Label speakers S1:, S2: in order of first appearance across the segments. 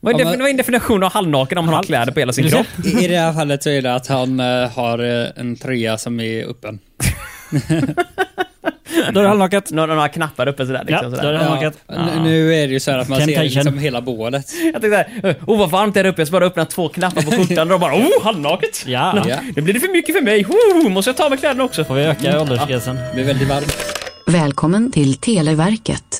S1: Vad är,
S2: Ja,
S1: defin-
S2: men-
S1: vad är en definition av halvnaken om han har kläder på hela sin kropp?
S2: I, I det här fallet så är det att han eh, har eh, en tröja som är öppen.
S3: Då är det halvnaket.
S1: Några, några knappar uppe sådär. Liksom,
S3: Ja,
S1: sådär.
S3: då är det halvnaket.
S2: n- Nu är det ju så här att man ser
S3: Temptation.
S2: liksom hela bålet.
S1: Jag tänkte såhär, oh vad varmt det är där uppe, jag ska bara öppna två knappar på skjortan och bara oh halvnaket!
S3: Ja.
S2: Ja.
S1: Nu blir det för mycket för mig, oh, måste jag ta av mig kläderna också?
S3: Får vi öka åldersgränsen?
S2: Det blir väldigt varmt.
S4: Välkommen till Televerket.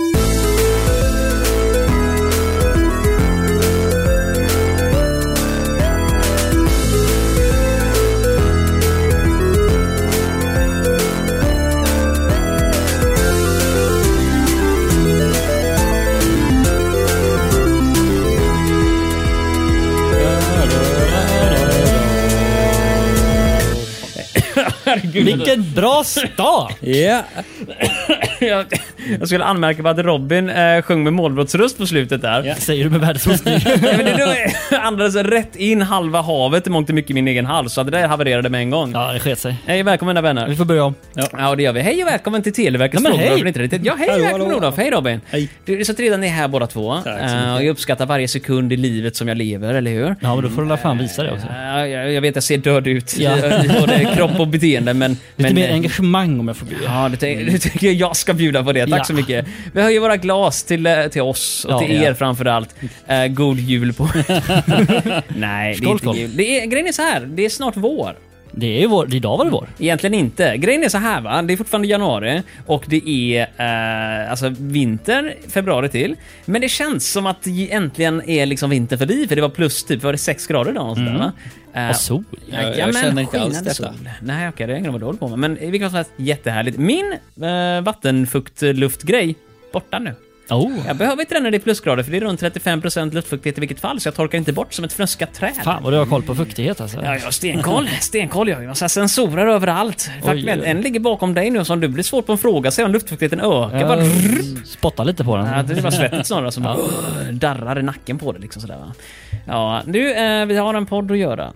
S3: Vilken bra start!
S2: Ja,
S1: jag, jag skulle anmärka på att Robin eh, sjöng med målbrottsröst på slutet där.
S2: Ja.
S3: Säger du med världens hostning?
S1: Nej, men det då andades rätt in halva havet i mångt och mycket i min egen hals, så det där havererade med en gång.
S3: Ja, det sket sig.
S1: Hej, välkommen mina vänner.
S3: Vi får börja om.
S1: Ja, och det gör vi. Hej och välkommen till Televerkets
S3: Nej, men
S1: frågor.
S3: hej!
S1: För inte riktigt- Ja, hej
S2: Hallå,
S1: välkommen
S2: hallå.
S1: Olof. Hej Robin.
S2: Hej.
S1: Du, det är så trevligt att ni är här båda två.
S2: Tack
S1: Eh,
S2: så mycket.
S1: och jag uppskattar varje sekund i livet som jag lever, eller hur?
S3: Ja, men då får du la fan visa det också.
S1: Eh, jag, jag vet, jag ser död ut
S3: Ja.
S1: i, i både kropp och beteende, men...
S3: Lite
S1: men,
S3: mer
S1: eh,
S3: engagemang om jag får be.
S1: Ja, det tänker, det tänker jag jag ska bjuda på det. Tack
S3: Ja.
S1: så mycket. Vi höjer våra glas till, eh, till oss och
S3: Ja,
S1: till
S3: ja.
S1: er framförallt. Eh, god jul på Nej, det är
S3: Skål,
S1: inte
S3: skål.
S1: jul. Det är, grejen är så här, det är snart vår.
S3: Det är ju vår, idag var det vår.
S1: Egentligen inte. Grejen är så här va, det är fortfarande januari och det är eh, alltså vinter, februari till. Men det känns som att det äntligen är liksom vinter förbi, för det var plus typ, var det 6 grader idag? Och sådär, va? Eh,
S3: Och sol.
S2: Mm. Jag- jag
S1: Jajamän,
S2: känner inte alls
S1: skinande
S2: detta.
S1: Nej, okej, det är ingen vad du håller på med. Men i vilket fall som helst, jättehärligt. Min eh, vattenfuktluftgrej, borta nu.
S3: Oh,
S1: Jag behöver inte den när det är plusgrader, för det är runt 35% luftfuktighet i vilket fall, så jag torkar inte bort som ett fnöskat träd.
S3: fan vad du har koll på fuktighet alltså.
S1: Ja, jag har stenkoll. Stenkoll, jag har ju massa sensorer överallt. Faktum är att
S3: oj.
S1: en ligger bakom dig nu, så om du blir svårt på en fråga, se om luftfuktigheten ökar. Bara...
S3: Jag spottar lite på
S1: Ja,
S3: den.
S1: det är bara svettigt snarare som bara, darrar i nacken på det liksom sådär va. Ja, nu, eh, vi har en podd att göra.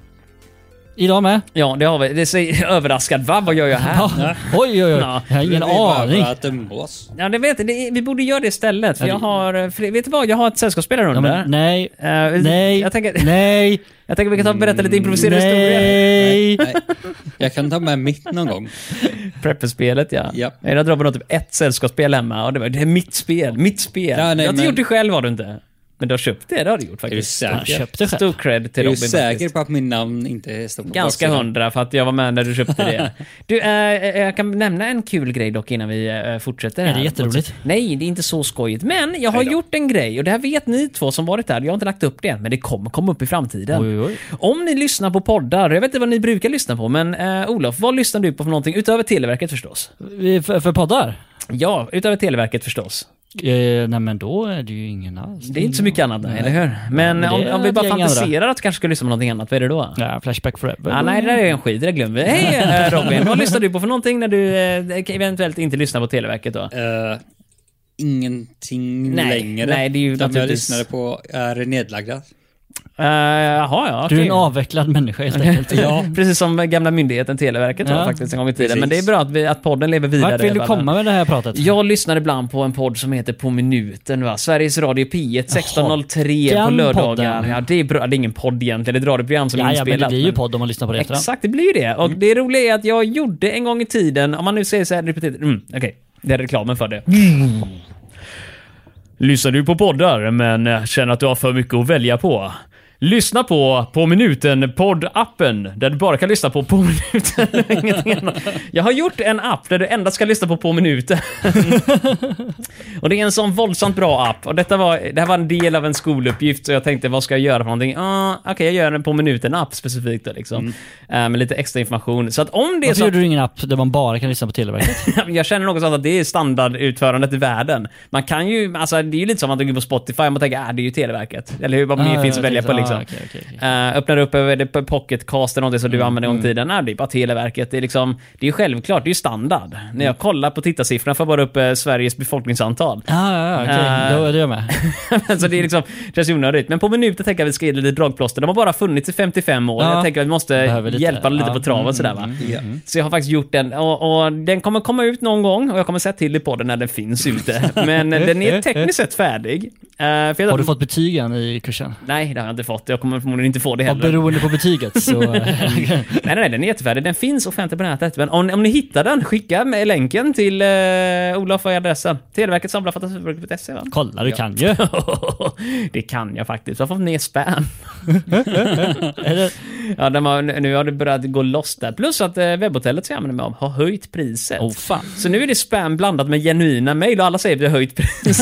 S3: Idag med.
S1: Ja, det har vi. Det säger överraskad. Va, vad gör jag här?
S3: Ja. Oj, oj, oj.
S1: Ja.
S3: Jag har ingen
S2: Det är bara
S3: aning.
S2: för Att umgås.
S1: Ja, det vet jag. Det, är- vi borde göra det istället. För
S3: Ja,
S1: jag
S3: det-
S1: har... För, vet du vad? Jag har ett sällskapsspel här
S3: Ja,
S1: under.
S3: men, nej,
S1: Eh,
S3: nej,
S1: Jag tänker,
S3: nej,
S1: jag tänker vi kan ta och berätta lite improviserade historier.
S3: nej.
S2: Nej. Jag kan ta med mitt någon gång.
S1: Prepperspelet ja.
S2: Ja.
S1: Jag hade Robin har typ ett sällskapsspel hemma och det var det är mitt spel, mitt spel.
S2: Ja, nej,
S1: du har inte
S2: men-
S1: gjort det själv har du inte. Men du har köpt det, det har du gjort
S2: Är du
S1: faktiskt.
S3: Jag
S2: säker?
S3: köpte själv.
S1: Stor cred till
S2: Är du
S1: Robin
S2: säker
S1: faktiskt.
S2: på att min namn inte står på
S1: Ganska
S2: baksidan?
S1: hundra för att jag var med när du köpte det. Du, eh, eh, jag kan nämna en kul grej dock innan vi eh, fortsätter.
S3: Är det
S1: här.
S3: jätteroligt?
S1: Nej, det är inte så skojigt. Men jag har
S2: Nej då.
S1: gjort en grej och det här vet ni två som varit där. Jag har inte lagt upp det än, men det kommer komma upp i framtiden.
S3: Oj, oj.
S1: Om ni lyssnar på poddar, jag vet inte vad ni brukar lyssna på, men eh, Olof, vad lyssnar du på för någonting? Utöver Televerket förstås.
S3: Vi- För, för poddar?
S1: Ja, utöver Televerket förstås.
S3: Eh, nej men då är det ju ingen alls.
S1: Det är inte så mycket annat, Mm. nej, eller hur? Men
S3: men det
S1: om,
S3: är
S1: om vi
S3: ett
S1: bara
S3: gäng
S1: fantiserar att du kanske ska lyssna på någonting annat, vad är det då?
S3: Ja, flashback forever.
S1: Ah, nej, det där är en skit, det där glömmer vi. Hej eh, Robin, vad lyssnar du på för någonting när du eh, eventuellt inte lyssnar på Televerket då?
S2: Eh, ingenting
S1: Nej,
S2: längre.
S1: nej, det är ju
S2: De jag
S1: naturligtvis-
S2: lyssnade på är nedlagda.
S1: Eh, Jaha, ja.
S3: Du är
S1: okej.
S3: en avvecklad människa helt enkelt.
S1: Ja, precis som gamla myndigheten Televerket var
S3: Ja.
S1: faktiskt en gång i tiden.
S2: Precis.
S1: Men det är bra att, vi, att podden lever vidare.
S3: Vart vill du
S1: va?
S3: komma med det här pratet?
S1: Jag lyssnar ibland på en podd som heter På minuten, va? Sveriges Radio P1 16.03
S3: Jaha,
S1: på
S3: den
S1: lördagar.
S3: podden.
S1: Ja, det är bra. Det är ingen podd egentligen, det är ett radioprogram som är
S3: ja, ja, men det
S1: inspelat.
S3: blir ju
S1: men-
S3: podd om man lyssnar på det efterhand.
S1: Exakt, det blir ju det. Och det roliga är att jag gjorde en gång i tiden, om man nu säger så här repetit, mm, okej, det är reklamen för det. Mm. Lyssnar du på poddar men eh, känner att du har för mycket att välja på? Lyssna på På minuten poddappen där du bara kan lyssna på På minuten och ingenting annat. Jag har gjort en app där du endast ska lyssna på På minuten. Och det är en sån våldsamt bra app. Och detta var, det här var en del av en skoluppgift, så jag tänkte vad ska jag göra för någonting? Ah, Okej, jag gör en på minuten-app specifikt då, liksom. Eh, med lite extra information. Så att om det är
S3: Mm. Varför
S1: så
S3: gjorde du ingen app där man bara kan lyssna på Televerket?
S1: jag känner någonstans att det är standardutförandet i världen. Man kan ju, alltså det är ju lite som att du går på Spotify och man tänker, ah, det är ju Televerket. Eller hur? Vad
S3: Ja,
S1: mer
S3: ja,
S1: finns att
S3: jag
S1: välja
S3: tänkte,
S1: på liksom. liksom.
S3: Ah, okej, okej, okej.
S1: Eh, öppnar upp över det på pocketcast eller någonting som du
S3: Mm,
S1: använde en gång i tiden. Nej, det är bara Televerket. Det är, liksom, det är självklart, det är ju standard. När jag kollar på tittarsiffrorna får jag bara upp eh, Sveriges befolkningsantal.
S3: Ah, ja, ja, okej.
S1: Eh.
S3: Då är det jag med.
S1: så det är liksom, känns ju onödigt. Men på minuten tänker jag att vi ska ge lite dragplåster. De har bara funnits i 55 år.
S3: Ja.
S1: Jag tänker att vi måste
S3: Behöver lite-
S1: hjälpa dem lite
S3: ja.
S1: på traven
S3: Mm,
S1: sådär va.
S2: Ja.
S1: Så jag har faktiskt gjort den och, och den kommer komma ut någon gång och jag kommer säga till i podden när den finns ute. Men den är tekniskt sett färdig. Eh, för jag-
S3: Har du fått betyg än i kursen?
S1: Nej, det har jag inte fått. Jag kommer förmodligen inte få det
S3: Och
S1: heller.
S3: beroende på betyget så... eh,
S1: Nej, nej, nej, den är jättefärdig. Den finns offentligt på nätet. Men om, om ni hittar den, skicka med länken till eh, Olof och adressen. Televerket samlar fantasifabriken.se va?
S3: Kolla, du kan ju.
S1: det kan jag faktiskt. Jag har fått ner spam.
S3: Eller,
S1: Ja, de har, nu har det börjat gå loss där. Plus att eh, webbhotellet som jag använder mig av har höjt priset.
S3: oh fan.
S1: Så nu är det spam blandat med genuina mejl och alla säger att vi har höjt priset.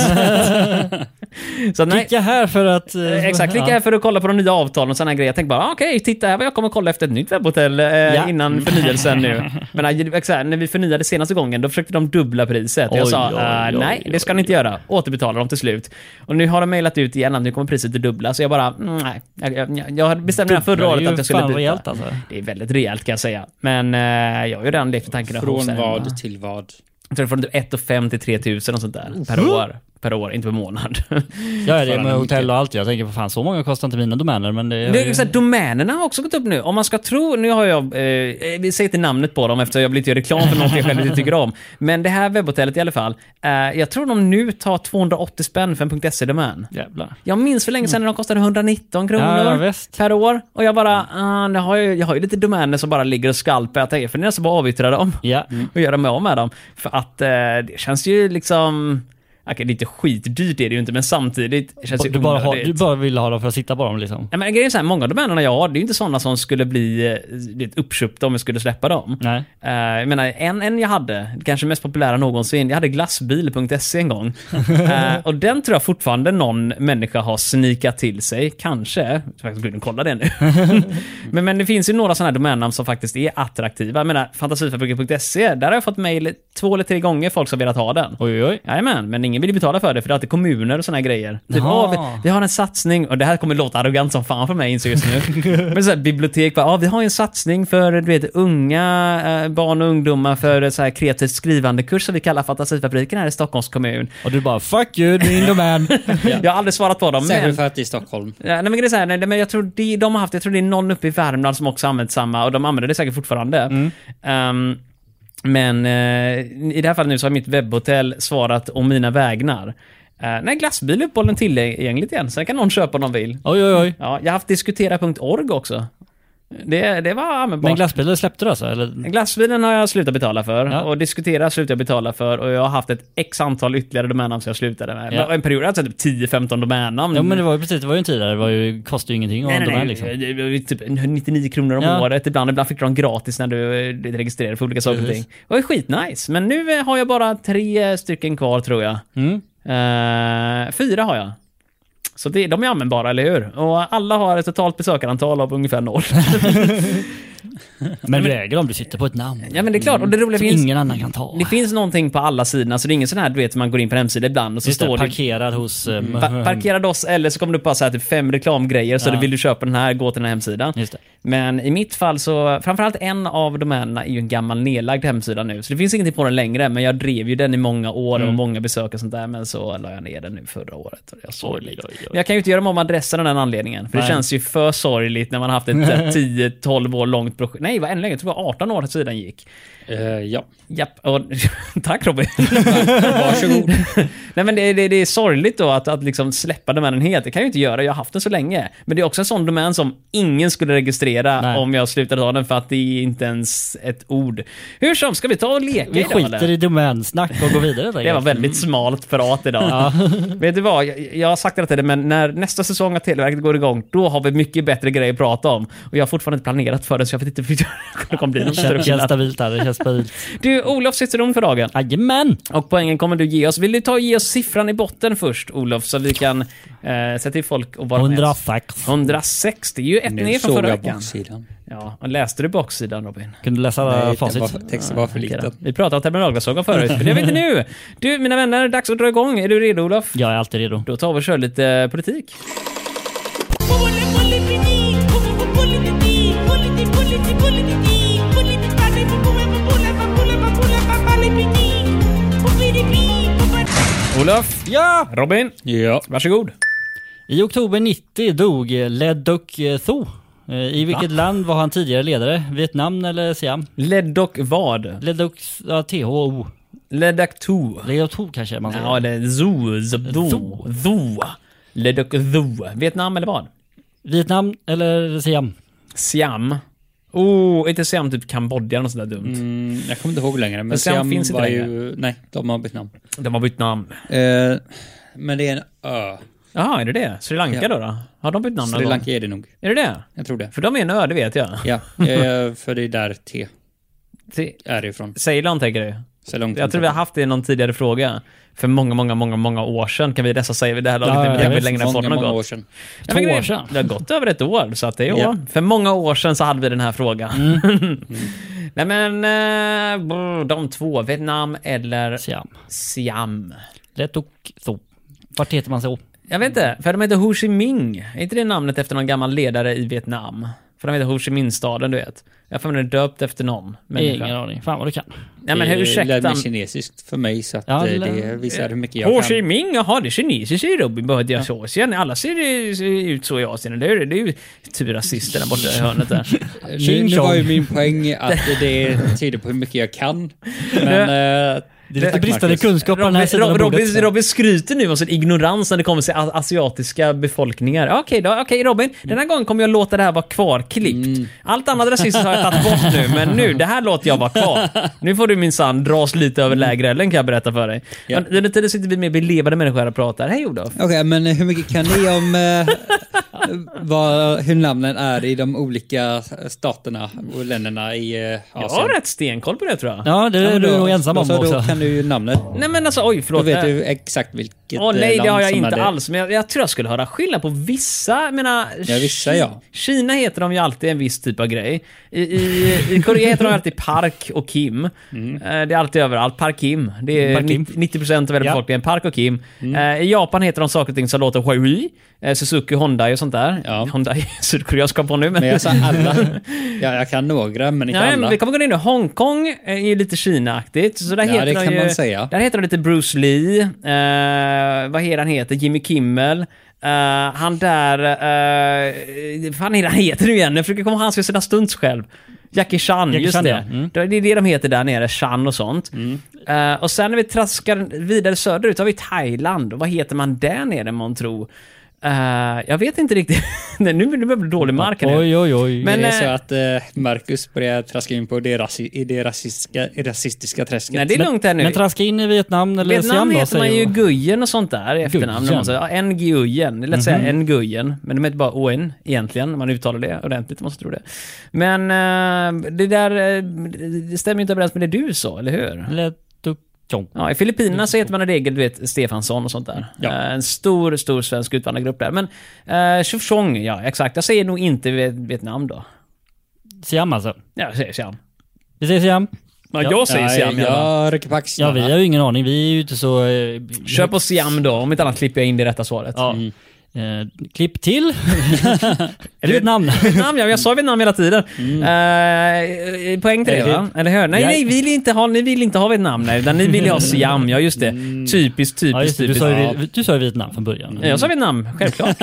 S1: så att nej,
S3: Klicka här för att... eh,
S1: Eh, Exakt, klicka här för att kolla på de nya avtalen och sådana grejer. Jag tänkte bara, ah, okej, titta här vad jag kommer kolla efter ett nytt webbhotell eh,
S3: Ja. Mm.
S1: innan förnyelsen nu. Men eh, exakt, när vi förnyade senaste gången, då försökte de dubbla priset. jag
S3: Oj,
S1: sa,
S3: oj,
S1: eh,
S3: oj,
S1: nej, det ska ni inte göra. Återbetala dem till slut. Och nu har de mejlat ut igen att nu kommer priset att dubbla, så jag bara, mm, nej. Jag, jag, jag bestämde redan förra
S3: Dubblar
S1: året
S3: ju
S1: att jag skulle
S3: fan
S1: byta.
S3: rejält, alltså.
S1: Det är väldigt rejält kan jag säga. Men eh, jag har ju redan lekt med tanken att hosta
S2: Från
S1: hemma.
S2: vad till vad.
S1: Jag tror från 1 5 till 3 000 och sånt där. Per år. Per år, inte per månad.
S3: Jag är det
S2: Fan,
S3: med
S2: mycket.
S3: hotell och allt. Jag tänker, vad fan, så många kostar inte mina domäner. Men det är,
S1: Det är så här, domänerna har också gått upp nu. Om man ska tro, nu har jag, eh, vi säger inte namnet på dem eftersom jag vill inte göra reklam för något jag själv inte tycker om. Men det här webbhotellet i alla fall, eh, jag tror de nu tar 280 spänn för en .se-domän.
S3: Jävlar.
S1: Jag minns för länge sedan när de kostade 119 kronor
S3: Ja, ja, visst.
S1: per år. Och jag bara, ah, nu har jag, jag har ju lite domäner som bara ligger och skalpar. Jag tänker, för när jag ska bara avyttra dem
S3: Ja.
S1: och göra mig av med dem. För att eh, det känns ju liksom... Okej, det är inte skitdyrt är det ju inte, men samtidigt känns det
S3: Du bara, har,
S1: onödigt.
S3: du bara vill ha dem för att sitta på dem liksom.
S1: Nej, men grejen är så här, många av domänerna jag har, det är ju inte sådana som skulle bli eh, du vet, uppköpta om jag skulle släppa dem.
S3: Nej.
S1: Eh, jag menar, en, en jag hade, kanske mest populära någonsin, jag hade glassbil.se E en gång. Eh, och den tror jag fortfarande någon människa har snikat till sig, kanske. Jag ska faktiskt gå in och kolla det nu. men, men det finns ju några sådana här domännamn som faktiskt är attraktiva. Jag menar, fantasifabriken.se, E, där har jag fått mejl två eller tre gånger folk som velat ha den.
S3: Oj, oj, oj.
S1: Jajamän, men ingen vill ju betala för det för det är alltid kommuner och såna här grejer. Typ,
S3: Jaha.
S1: "Åh, vi, vi har en satsning, och det här kommer låta arrogant som fan för mig inser jag just nu. men så här, bibliotek bara, "Ja, vi har en satsning för du vet, unga eh, barn och ungdomar för eh, så här, kreativt skrivande kurs som vi kallar Fantasifabriken här i Stockholms kommun.
S3: Och du bara, fuck you, min domän.
S1: Jag har aldrig svarat på dem.
S2: Särskilt
S1: men-
S2: för att det är Stockholm.
S1: Ja, nej, men det är så här, nej, men jag tror de, de har haft, jag tror det är någon uppe i Värmland som också använt samma och de använder det säkert fortfarande.
S3: Mm.
S1: Ehm, men eh, i det här fallet nu så har mitt webbhotell svarat om mina vägnar. Eh, nej, glassbil är uppehållen tillgängligt igen, sen kan någon köpa om de vill.
S3: Oj, oj, oj.
S1: Ja, jag har haft diskutera.org också. Det, det var
S3: Men
S1: användbart.
S3: glassbilen släppte du alltså? Eller?
S1: Glassbilen har jag slutat betala för
S3: Ja.
S1: och diskutera slutade jag betala för och jag har haft ett x antal ytterligare domännamn som jag slutade med.
S3: Ja.
S1: En period har jag haft typ 10-15 domännamn.
S3: Ja men det var ju precis, det var ju en tid där det var ju, kostade ju ingenting att ha
S1: Nej,
S3: en
S1: nej,
S3: domän
S1: nej.
S3: liksom.
S1: Det var ju Typ 99 kronor om
S3: Ja.
S1: året. Ibland, ibland fick du dem gratis när du eh, registrerade för olika saker och ting.
S3: Precis.
S1: Det var ju skitnice. Men nu eh, har jag bara tre stycken kvar tror jag.
S3: Mm.
S1: Eh, fyra har jag. Så det, de är användbara, eller hur? Och alla har ett totalt besökarantal av ungefär noll.
S3: Men väger om du sitter på ett namn.
S1: ja men det är klart, och det roliga
S3: som
S1: finns...
S3: ingen annan kan ta.
S1: Det finns någonting på alla sidorna, så det är ingen sån här, du vet, man går in på hemsidan ibland och så
S3: Just det,
S1: står det Mm.
S3: parkerad hos... eh,
S1: Pa- parkerad oss eller så kommer det upp bara så här typ fem reklamgrejer så
S3: Ja.
S1: du vill du köpa den här, gå till den här hemsidan.
S3: Just det.
S1: Men i mitt fall så, framförallt en av domänerna är ju en gammal nedlagd hemsida nu. Så det finns ingenting på den längre, men jag drev ju den i många år
S3: Mm.
S1: och många besök och sånt där. Men så la jag ner den nu förra året. Och jag såg
S3: Oj,
S1: lite.
S3: oj, oj.
S1: Men jag kan ju inte göra mig om adressen av den anledningen. För det
S3: Nej.
S1: känns ju för sorgligt när man har haft ett så här 10-12 år långt projekt. Nej, vad ännu längre. Jag tror det var 18 år sidan gick.
S2: Eh, ja.
S1: Japp, och, tack Robin.
S2: Varsågod.
S1: Nej men det, det, det är sorgligt då att, att liksom släppa domänen helt. Det kan jag ju inte göra, jag har haft den så länge. Men det är också en sån domän som ingen skulle registrera
S3: Nej.
S1: om jag slutade ha den för att det är inte ens ett ord. Hur som, ska vi ta och leka
S3: Vi
S1: idag
S3: skiter
S1: eller?
S3: i Mm. domänsnack och går vidare där.
S1: Det var väldigt smalt prat idag. Vet du vad, jag, jag har sagt det hela tiden, men när nästa säsong av Televerket går igång, då har vi mycket bättre grejer att prata om. Och jag har fortfarande inte planerat för det, så jag vet inte hur det kommer bli. någon större
S3: Känns, känns
S1: skillnad.
S3: stabilt där, det känns stabilt.
S1: Du, Olof sitter rom för dagen.
S3: Jajamän!
S1: Och poängen kommer du ge oss. Vill du ta och ge oss siffran i botten först, Olof, så vi kan eh, säga till folk och vara med?
S3: 106.
S1: 106, det är ju ett
S2: Nu
S1: ner från
S2: såg
S1: förra
S2: jag
S1: veckan.
S2: baksidan.
S1: Ja, och läste du baksidan Robin?
S3: Kunde du läsa alla
S2: Nej,
S3: facit?
S2: den var, texten var för liten.
S1: Vi pratade om terminalglasögon förut, men det gör vi inte nu. Du, mina vänner, dags att dra igång. Är du redo Olof?
S3: Jag är alltid redo.
S1: Då tar vi och kör lite eh, politik.
S5: Bully, bully, politik, politik, politik, politik,
S1: Olof,
S3: Ja!
S1: Robin,
S2: Ja.
S1: varsågod.
S3: I oktober 90 dog Led Duc Tho. Eh, I vilket land var han tidigare ledare? Vietnam eller Siam?
S1: Leddock vad?
S3: Led Duc, ja, THO.
S1: Leddock to.
S3: Led Duc Tho kanske man säger.
S1: Ja, det är zoo, zoo,
S3: Zoo.
S1: zoo. Leddock zoo. Vietnam eller vad?
S3: Vietnam eller Siam?
S1: Siam. Oh, inte Siam, typ Kambodja eller något sånt där dumt.
S2: Mm, jag kommer inte ihåg längre, men
S1: Siam
S2: Siam
S1: finns inte
S2: var
S1: längre.
S2: ju... Nej, de har bytt namn.
S1: De har bytt namn.
S2: Eh, men det är en ö.
S1: Jaha, är det det? Sri Lanka
S2: Ja.
S1: då, då? Har de bytt namn någon
S2: Sri
S1: gång?
S2: Lanka är det nog.
S1: Är det det?
S2: Jag tror det.
S1: För de är en ö, det vet jag.
S2: Ja, eh, för det är där T
S1: Till-
S2: är ifrån.
S1: Ceylon tänker du?
S2: Så långt
S1: Jag tror vi har haft det i någon tidigare fråga. För många, många, många, många år sedan kan vi nästan säga vid det här laget.
S3: Ja,
S1: Ja,
S3: ja,
S1: ja,
S3: ja,
S1: hur
S3: visst.
S1: länge den
S2: många,
S1: podden har
S2: många år
S1: gått.
S2: sedan.
S1: Ja, men
S3: Två
S1: grejen-
S3: år sedan.
S1: Det har gått över ett år, så att det är
S2: Ja.
S1: ja. För många år sedan så hade vi den här frågan. Nej men, eh, brr, de två. Vietnam eller
S3: Siam.
S1: Siam.
S3: Led Duc Tho. Vart heter man så?
S1: Jag vet inte, för de heter Ho Chi Minh. Är inte det namnet efter någon gammal ledare i Vietnam? För de heter Ho Chi Minh-staden, du vet. Jag har för mig den är döpt efter någon. människa.
S3: Ingen aning. Fan vad du kan.
S1: Nej men
S2: det Eh, lär
S1: ursäkta.
S2: mig kinesiskt för mig, så att
S3: Ja,
S2: eh,
S3: lär-
S2: det visar hur mycket
S1: Ho
S2: jag
S1: Chi
S2: kan.
S1: Minh, jaha det är kinesiskt i Robin behövde jag så Asien. Alla ser eh, ser ut så i Asien, eller hur? Det är ju typ rasister där borta i hörnet där.
S2: Nu,
S3: Ching
S2: nu
S3: chong.
S2: var ju min poäng att det tyder på hur mycket jag kan. Men... eh,
S3: Det är lite
S2: tack,
S3: bristande
S2: Marcus.
S3: kunskap på den här
S1: Robin,
S3: sidan av
S1: Robin,
S3: bordet.
S1: Robin, Robin skryter nu om sin ignorans när det kommer till a- asiatiska befolkningar. Ja, Okej då, okej Robin. Den här gången kommer jag låta det här vara kvarklippt.
S3: Mm.
S1: Allt annat rasistiskt har jag tagit bort nu, men nu, det här låter jag vara kvar. Nu får du minsann dras lite
S3: Mm.
S1: över lägerelden kan jag berätta för dig.
S2: Ja.
S1: Men under tiden sitter vi med belevade människor här och pratar. Hej Olof.
S2: Okej, men hur mycket kan ni om eh, vad, hur namnen är i de olika staterna och länderna i eh,
S1: Jag
S2: Asien?
S1: har rätt stenkoll på det tror jag.
S3: Ja, det
S2: Ja,
S3: är
S2: men
S3: du
S2: då-
S3: nog ensam om
S2: då, så Då
S3: också.
S2: kan du ju namnet.
S1: Nej men alltså, oj
S2: Då
S1: förlåt.
S2: vet
S1: Det-
S2: du exakt vilket
S1: Åh
S2: eh,
S1: nej,
S2: land
S1: det har jag
S2: som
S1: inte
S2: är det.
S1: alls. Men jag, jag tror jag skulle höra skillnad på vissa. Jag menar,
S2: Ja, vissa, ja.
S1: Ki- Kina heter de ju alltid en viss typ av grej. I, i, i Korea heter de alltid Park och Kim. Eh,
S2: Mm.
S1: Det är alltid överallt. Park Kim. Det är
S3: Park Kim.
S1: 90 procent av hela
S3: Ja.
S1: befolkningen. Park och Kim.
S2: Mm.
S1: Eh, I Japan heter de saker och ting som låter Huawei, eh, Suzuki, Hyundai och sånt där.
S2: Ja.
S1: Hyundai är sydkoreansk kom på nu.
S2: Men jag sa alla. Ja, jag kan några, men inte
S1: Nej,
S2: alla.
S1: men vi kommer gå in nu. Hongkong är ju lite Kina-aktigt. Så där
S2: Ja,
S1: heter
S2: det
S1: de
S2: kan
S1: ju,
S2: man säga.
S1: Där heter de lite Bruce Lee. Eh, vad heter han heter? Jimmy Kimmel. Eh, han där... Uh, vad fan är det han heter nu igen? Jag försöker komma ihåg han som gör sina stunts själv. Jackie Chan,
S3: Jackie
S1: just
S3: Chan,
S1: det.
S3: ja. Mm.
S1: Det är det de heter där nere, Chan och sånt. Eh, och sen när vi traskar vidare söderut har vi Thailand. Och vad heter man där nere månntro? Uh, jag vet inte riktigt. Nej, nu nu börjar det bli dålig mark här nere.
S3: Oj, oj, oj.
S1: Men-
S2: det är
S1: eh,
S2: så att eh, Marcus börjar traska in på det, rasi- i det rasistiska, i rasistiska träsket.
S1: Nej, det är lugnt här nu.
S3: Men traska in i Vietnam eller
S1: Vietnam
S3: Siam då,
S1: heter man
S3: säger
S1: ju
S3: jag.
S1: Guyen och sånt där i efternamn.
S3: Guyen.
S1: Man säger, ja, en Guyen. Det är lätt att säga en Guyen, men de heter bara ON egentligen, när man uttalar det ordentligt. Man måste tro det. Men eh, det där eh, det stämmer ju inte överens med det du sa, eller hur?
S3: Led Duc Tho.
S1: Ja, I Filippinerna så heter man i regel, du vet, Stefansson och sånt där. Eh, En stor, stor svensk utvandrargrupp där. Men eh, Chufchong, ja exakt. Jag säger nog inte Viet- Vietnam då.
S3: Siam alltså.
S1: Ja, Jag säger Siam.
S3: Vi säger Siam.
S1: Ja, jag säger Siam i alla fall.
S2: Jag rycker på
S3: Ja,
S2: axlarna.
S3: vi har ju ingen aning. Vi är ju inte så... eh,
S1: Kör på Mm. Siam då, om inte annat klipper jag in det rätta svaret.
S3: Ja. Eh, klipp till. är det ett namn?
S1: Vietnam, ja, jag sa Vietnam hela tiden. Eh, poäng till det va? Eller hur? Nej,
S3: Ja.
S1: nej, vi vill inte ha, ni vill inte ha Vietnam, nej, utan ni vill ju ha Siam, ja just det. Typiskt, typiskt,
S3: Ja, just det. Du
S1: typiskt.
S3: sa
S1: Ja.
S3: ju, du sa ju Vietnam från början.
S1: Ja, Jag sa Vietnam, självklart.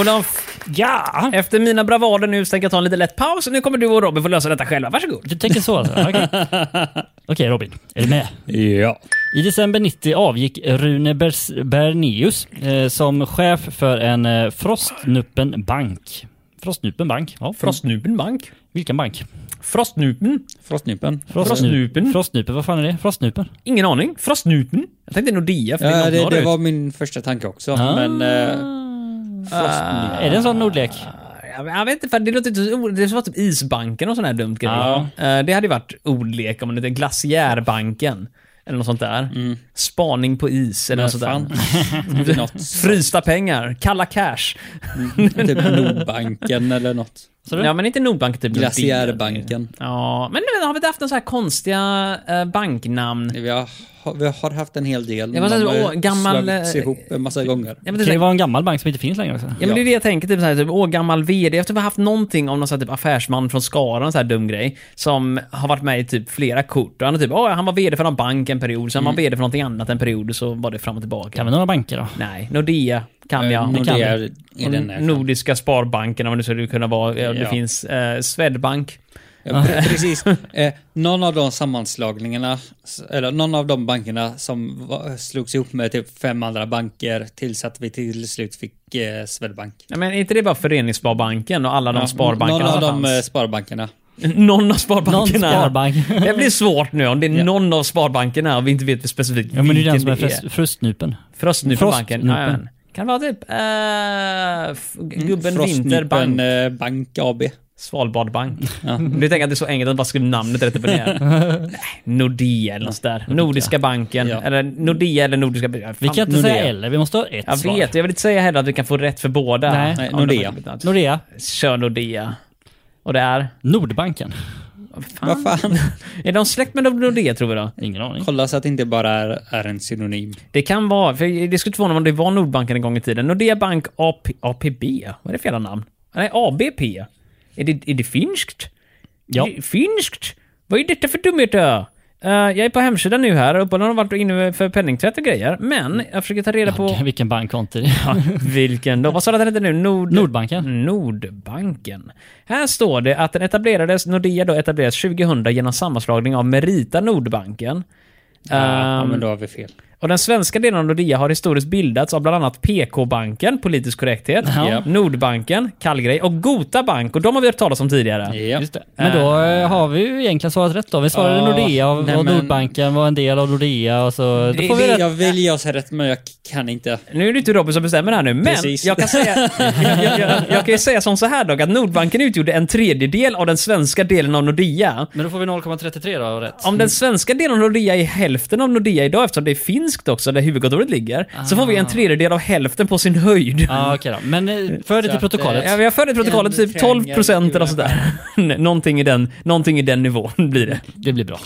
S1: Olof,
S3: Ja!
S1: efter mina bravader nu så tänker jag ta en lite lätt paus. Nu kommer du och Robin få lösa detta själva. Varsågod.
S3: Du tänker så alltså? Ja, Okej Okej, Robin. Är du med?
S2: Ja.
S3: I december 90 avgick Rune Bers- Bernius eh, som chef för en eh, Frostnuppen bank. Frostnupen bank? Ja,
S1: Frostnupen Bank.
S3: Vilken bank?
S1: Frostnupen?
S2: Frostnypen.
S1: Frostnupen?
S3: Frostnupen, vad fan är det? Frostnupen?
S1: Ingen aning. Frostnupen? Jag tänkte Nordea, för det Ah.
S2: Ja,
S1: är
S2: det,
S1: något
S2: det
S1: norrut.
S2: var min första tanke också, men... eh,
S3: Är det en sån ordlek?
S1: Jag jag vet inte, för det låter inte så... Det var typ Isbanken och sån här dumt grej. Eh, Det hade ju varit ordlek om det hette Glaciärbanken. Eller något sånt där.
S3: Mm.
S1: Spaning på is eller något sånt
S2: fan.
S1: där.
S2: Det är något.
S1: Frysta pengar, kalla cash.
S2: Typ Nordbanken eller något.
S3: Så
S1: Ja, men inte Nordbanken, typ
S2: Glaciärbanken.
S1: Nordea. Ja, men nu har vi inte haft en så här konstiga eh, banknamn?
S2: Vi har, vi har haft en hel del.
S1: Ja, men sen
S2: De
S1: så,
S2: har
S1: åh, gammal,
S2: slagits
S1: eh,
S2: ihop en massa gånger.
S1: Ja, men
S3: det
S1: det är
S3: kan
S1: så
S3: ju
S1: här-
S3: vara en gammal bank som inte finns längre också.
S1: Ja men det är det jag tänker, typ, så här, typ åh gammal VD. Efter att vi har haft någonting om någon så här, typ, affärsman från Skara, en sån här dum grej, som har varit med i typ flera kort. Och han, är typ, åh, han var VD för någon bank en period, sen var han VD för någonting annat en period, och så var det fram och tillbaka.
S3: Kan vi några banker då?
S1: Nej, Nordea kan jag.
S2: Eh,
S1: Och
S2: Nordea
S1: kan-
S2: är i
S1: och
S2: den här
S1: Nordiska Sparbanken, om det skulle kunna vara. Ja. Det
S2: Ja.
S1: finns eh, Swedbank.
S2: Ja, pre- precis. Eh, någon av de sammanslagningarna, s- eller någon av de bankerna som va- slogs ihop med typ fem andra banker tills att vi till slut fick eh, Swedbank.
S1: Ja, men är inte det bara Föreningssparbanken och alla de
S2: Ja,
S1: sparbankerna
S2: Någon av
S1: som
S2: de eh,
S1: fanns?
S2: sparbankerna.
S1: Någon av
S3: Någon
S1: sparbankerna.
S3: sparbank.
S1: Det blir svårt nu om det är någon av sparbankerna och vi inte vet specifikt
S3: Ja men det är ju den som är
S1: vilken
S3: frust- frustnupen.
S1: Frostnypenbanken?
S3: Frostnypen.
S1: Jajamän. Kan det vara typ eh, f- Gubben
S2: Frostnypen
S1: Vinterbank?
S2: eh, Bank AB.
S1: Svalbardbank. Du tänker att det är så enkelt att man bara skriver namnet rätt upp och ner. Nej, Nordea eller något där. Nordiska banken.
S2: Ja.
S1: Eller Nordea eller Nordiska banken.
S3: Vi kan inte säga eller, vi måste ha ett
S1: Jag
S3: svar.
S1: vet, jag vill inte säga heller att vi kan få rätt för båda.
S3: Nej.
S2: Nej,
S1: Om det
S2: Nordea.
S1: får-
S3: Nordea,
S1: Kör Nordea. Och det är?
S3: Nordbanken.
S2: Vad fan?
S1: Är de släkt med Nordea tror vi då?
S3: Ingen aning.
S2: Kolla så att det inte bara är, är en synonym.
S1: Det kan vara, för det skulle inte förvåna mig om det var Nordbanken en gång i tiden. Nordea Bank AP, APB, vad är det för jävla namn? Nej, ABP. Är det, är det finskt?
S3: Ja.
S1: Är det Finskt? Vad är detta för dumheter? Eh, jag är på hemsidan nu här, uppehållande har varit inne för penningtvätt och grejer, men jag försöker ta reda på...
S3: Vilken- Vilken bankkonto det är.
S1: Ja, vilken då? Vad sa du att den hette nu? Nord...
S3: Nordbanken.
S1: Nordbanken. Här står det att den etablerades, Nordea då etablerades 2000 genom sammanslagning av Merita Nordbanken.
S2: ja,
S1: Ehm,
S2: men då har vi fel.
S1: och den svenska delen av Nordea har historiskt bildats av bland annat PK-banken, politisk korrekthet,
S3: Ja.
S1: Nordbanken, kallgrej och Gota Bank. Och de har vi hört talas om tidigare.
S2: Ja.
S3: Just det. Men då eh, har vi ju egentligen svarat rätt då. Vi svarade
S2: Ja,
S3: Nordea och,
S2: nej,
S3: och
S2: men-
S3: Nordbanken var en del av Nordea och så... Då får vi rätt.
S2: Jag vill ge oss rätt, men jag kan inte.
S1: Nu är det inte Robin som bestämmer här nu, men
S2: Precis.
S1: jag kan, säga, jag, jag, jag, jag kan ju säga som så här dock, att Nordbanken utgjorde en tredjedel av den svenska delen av Nordea.
S3: Men då får vi 0,33 då rätt.
S1: Om den svenska delen av Nordea är hälften av Nordea idag, eftersom det är finskt också, där huvudkontoret ligger, så får vi
S2: Ah.
S1: en tredjedel av hälften på sin höjd.
S3: Ja okej då. Men eh, för det
S2: Så
S3: till
S2: att,
S3: protokollet.
S1: Ja, vi har för i protokollet typ 12 procent eller sådär. någonting, i den, någonting i den nivån blir det.
S3: Det blir bra.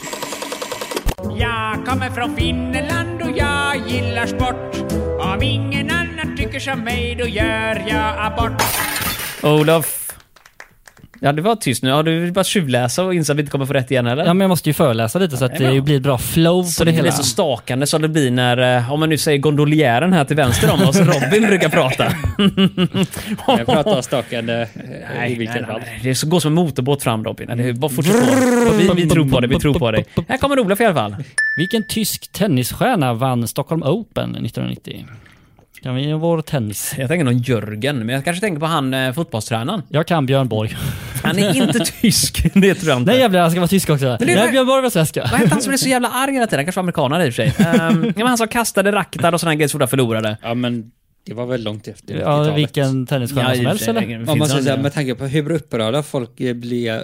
S6: Jag kommer från Finland och jag gillar sport. Om ingen annan tycker som mig då gör jag abort.
S1: Olof. Ja, det var tyst nu. Har du vill bara tjuvläsa och inser att vi inte kommer få rätt igen eller?
S3: Ja men jag måste ju föreläsa lite så att
S1: det är
S3: det
S1: bra.
S3: blir ett bra flow
S1: så det
S3: på det
S1: inte blir
S3: hela.
S1: så stakande som det blir när, eh, om man nu säger gondoljären här till vänster om oss, Robin brukar prata.
S2: Jag pratar stakande eh, i vilket fall.
S1: Det är så- går som en motorbåt fram Robin. Eller hur? Bara fortsätt på. Vi, vi tror på dig, vi tror på dig. Här kommer Olof i alla fall.
S3: Vilken tysk tennisstjärna vann Stockholm Open 1990? Kan vi vår tennis?
S1: Jag tänker någon Jörgen, men jag kanske tänker på han eh, fotbollstränaren.
S3: Jag kan Björn Borg.
S1: Han är inte tysk, det tror jag inte.
S3: Nej jävlar, han ska vara tysk också.
S1: det-
S3: Nej, Björn Borg var svenska.
S1: Vad hette han som blev så jävla arg hela tiden? Han kanske var amerikanare i och för sig. Ehm, ja, men han som kastade racketar och sådana grejer så fort han förlorade.
S2: Ja, men det var väl långt efter 90-talet.
S3: Ja, vilken
S1: Ja,
S3: tennisstjärna
S1: i och
S3: som
S1: för
S3: helst
S1: sig.
S3: eller?
S1: Finns
S2: Om man
S1: det
S2: säger
S1: någon-
S2: så här, med tanke på hur upprörda folk eh, ble,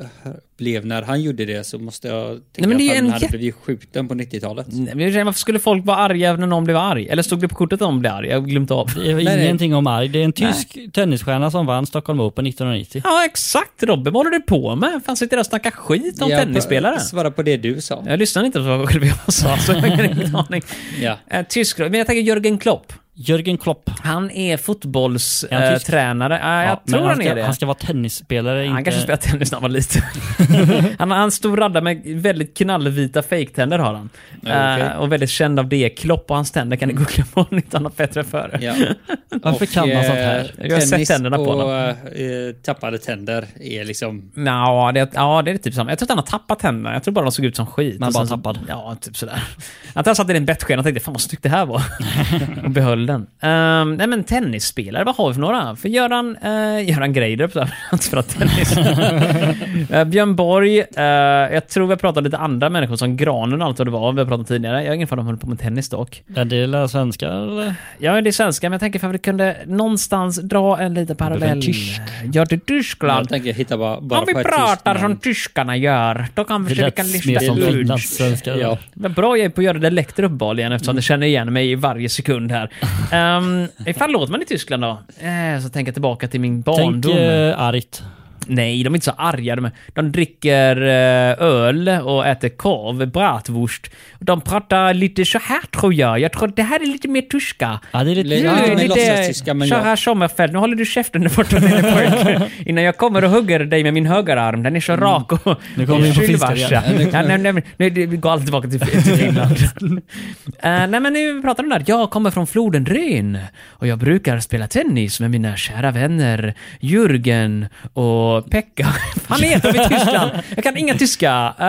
S2: blev när han gjorde det så måste jag tänka
S1: Nej, men det är
S2: att
S1: en
S2: han hade
S1: jätte-
S2: blivit skjuten på 90-talet.
S1: Nej,
S3: eh?
S1: men i och för sig, Varför skulle folk vara arga när någon blev arg? Eller stod det på kortet att någon blev arg? Jag har glömt av.
S3: Det är
S2: nej.
S3: ingenting om arg. Det är en tysk tennisstjärna som vann Stockholm Open 1990.
S1: Ja, exakt Robin. Vad håller du på med? Fan, sitter där och snackar skit om
S2: Jag
S1: tennisspelare?
S2: pa- Svara på det du sa.
S1: Jag lyssnade inte på vad själv jag sa, så jag har ingen aning.
S2: Ja.
S1: Eh, Tysk, men jag tänker Jörgen Klopp.
S3: Jörgen Klopp.
S1: Han är
S3: Är han tysk?
S1: fotbollstränare. jag
S3: Ja, men
S1: tror han,
S3: ska,
S1: är det.
S3: Han ska vara tennisspelare,
S1: Han
S3: Eh, inte...
S1: kanske spelar tennis när han var liten. han har en stor radda med väldigt knallvita fejktänder har han.
S2: okej.
S1: Eh, och väldigt känd av det. Klopp och hans tänder kan ni googla på om ni inte har något bättre för er.
S2: Ja.
S3: Varför
S2: Och,
S3: kan man sånt här?
S2: eh,
S1: Jag har sett
S2: tennis
S1: tänderna på
S2: och,
S1: honom.
S2: eh, tappade tänder är liksom...
S1: Nja, det, ja, det är typ samma. Jag tror att han har tappat tänderna. Jag tror bara de såg ut som skit.
S3: Men
S1: Och
S3: bara
S1: sen så-
S3: tappad.
S1: Ja, typ sådär. Att han satt i en bettsken och tänkte fan vad snyggt det här var. och behöll den. Ehm, nej men tennisspelare, vad har vi för några? För Göran, uh, Göran Greider, så här, han spelar tennis. Eh, Björn Borg, eh, jag tror vi har pratat lite andra människor som Granen och allt vad det var. Vi har pratat tidigare. Jag har ingen fan om de höll på med tennis dock.
S3: Är det lilla svenskar eller?
S1: Ja, det är svenska, men jag tänker för att vi kunde någonstans dra en liten parallell.
S3: tysk.
S1: Ja, till
S2: Jag
S1: Tyskland.
S2: tänker hitta bara, bara
S1: Om vi
S2: på ett
S1: pratar
S2: tyst
S1: som
S2: namn.
S1: tyskarna gör, då kanske
S3: Det
S1: vi
S3: lät
S1: kan
S3: mer
S1: lyfta
S3: som
S1: ut.
S3: finlandssvenskar.
S2: Ja.
S1: Vad bra jag är på att göra dialekter uppenbarligen eftersom det känner igen mig i varje sekund här. Ehm, Um, ifall låter man i Tyskland då? Eh, så tänker jag tillbaka till min
S3: Tänk
S1: barndom.
S3: eh, argt.
S1: Nej, de är inte så arga. De, de dricker eh, öl och äter korv, bratwurst. De pratar lite så här tror jag. Jag tror det här är lite mer tyska.
S3: Ja, det är lite...
S2: Ja,
S1: Nu
S2: de
S1: är
S2: är låtsastyska, men jag-
S1: Kära Sommerfeld, nu håller du käften där borta lille pojk. Innan jag kommer och hugger dig med min högerarm, den är så rak och
S3: Mm. Nu kommer vi in på fiskar igen.
S1: Ja, nej, nej, nej, nej, det- vi går alltid tillbaka till, till Finland. Eh, nej men nu pratar de där, jag kommer från floden Rhön och jag brukar spela tennis med mina kära vänner Jürgen och Pekka. Fan heter de i Tyskland? Jag kan inga tyska. Eh,